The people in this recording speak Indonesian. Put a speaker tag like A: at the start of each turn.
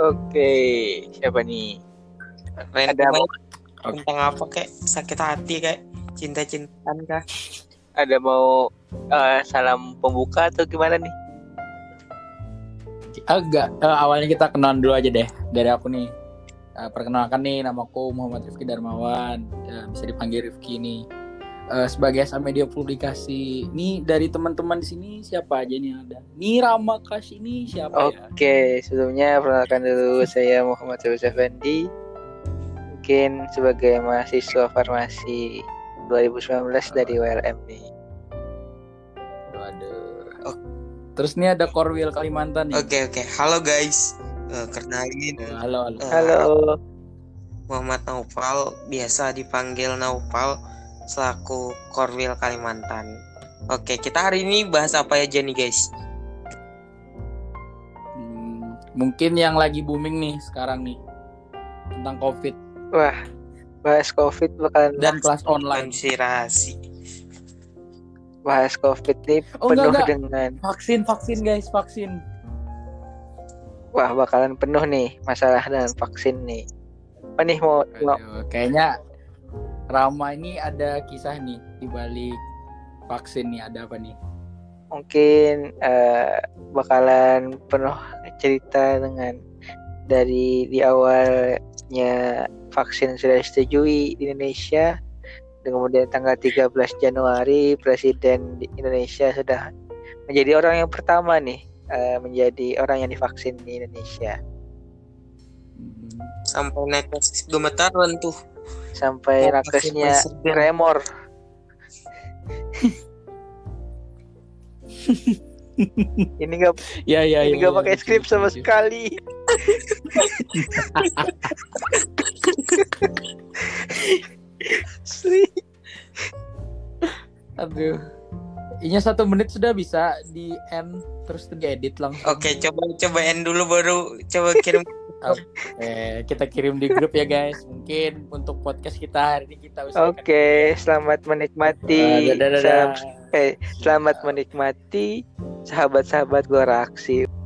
A: Oke, siapa nih? Ada
B: Random
A: mau
B: aja. tentang apa kek sakit hati kek cinta-cintaan kah
A: ada mau eh, salam pembuka atau gimana nih?
C: Agak eh, awalnya kita kenalan dulu aja deh dari aku nih. Eh, perkenalkan nih namaku Muhammad Rifki Darmawan, Ya, bisa dipanggil Rifki nih. Eh, sebagai SM media publikasi. Nih dari teman-teman di sini siapa aja nih yang ada? Nih Rama Kas ini siapa
A: Oh.
C: ya?
A: Oke, sebelumnya perkenalkan dulu saya Muhammad Yusuf Effendi. Mungkin sebagai mahasiswa farmasi 2019 dari ULM nih.
C: Waduh.
B: Oh.
C: Terus nih ada Korwil Kalimantan nih.
B: oke oke halo guys Eh, kenalin
C: Eh, Halo, halo.
B: eh,
A: Halo.
B: Muhammad Naufal biasa dipanggil Naufal selaku Korwil Kalimantan oke kita hari ini bahas apa aja nih guys
C: Hmm, mungkin yang lagi booming nih sekarang nih tentang COVID
A: Wah, bahas Covid bakalan
C: dan kelas online.
B: konspirasi
A: bahas Covid nih
C: Oh,
A: penuh
C: enggak, enggak.
A: dengan
C: Vaksin, vaksin guys, vaksin.
A: wah bakalan penuh nih masalah dengan vaksin nih. Apa nih mau mau-
C: Aduh, kayaknya Rama ini ada kisah nih di balik vaksin nih ada apa nih?
A: mungkin eh, bakalan penuh cerita dengan dari di awalnya vaksin sudah disetujui di Indonesia dan kemudian tanggal 13 Januari presiden di Indonesia sudah menjadi orang yang pertama nih eh, menjadi orang yang divaksin di Indonesia
C: Hmm,
B: sampai netes gemetaran tuh
A: sampai
B: Oh, Vaksin
A: nakesnya
B: presiden.
A: remor ini nggak
C: Ya ya
A: ini
C: ya.
A: nggak
C: ya,
A: pakai
C: lucu,
A: skrip
C: lucu,
A: sama
C: lucu.
A: sekali
C: Aduh. Ini satu menit sudah bisa di end terus diedit langsung.
B: Oke, coba cobain dulu baru coba kirim.
C: Eh, kita kirim di grup ya guys. Mungkin untuk podcast kita hari ini kita usahakan. Eh,
A: Oke, selamat menikmati.
C: Dadah, dadah,
A: Salam,
C: dadah.
A: eh, selamat menikmati sahabat-sahabat gua reaksi.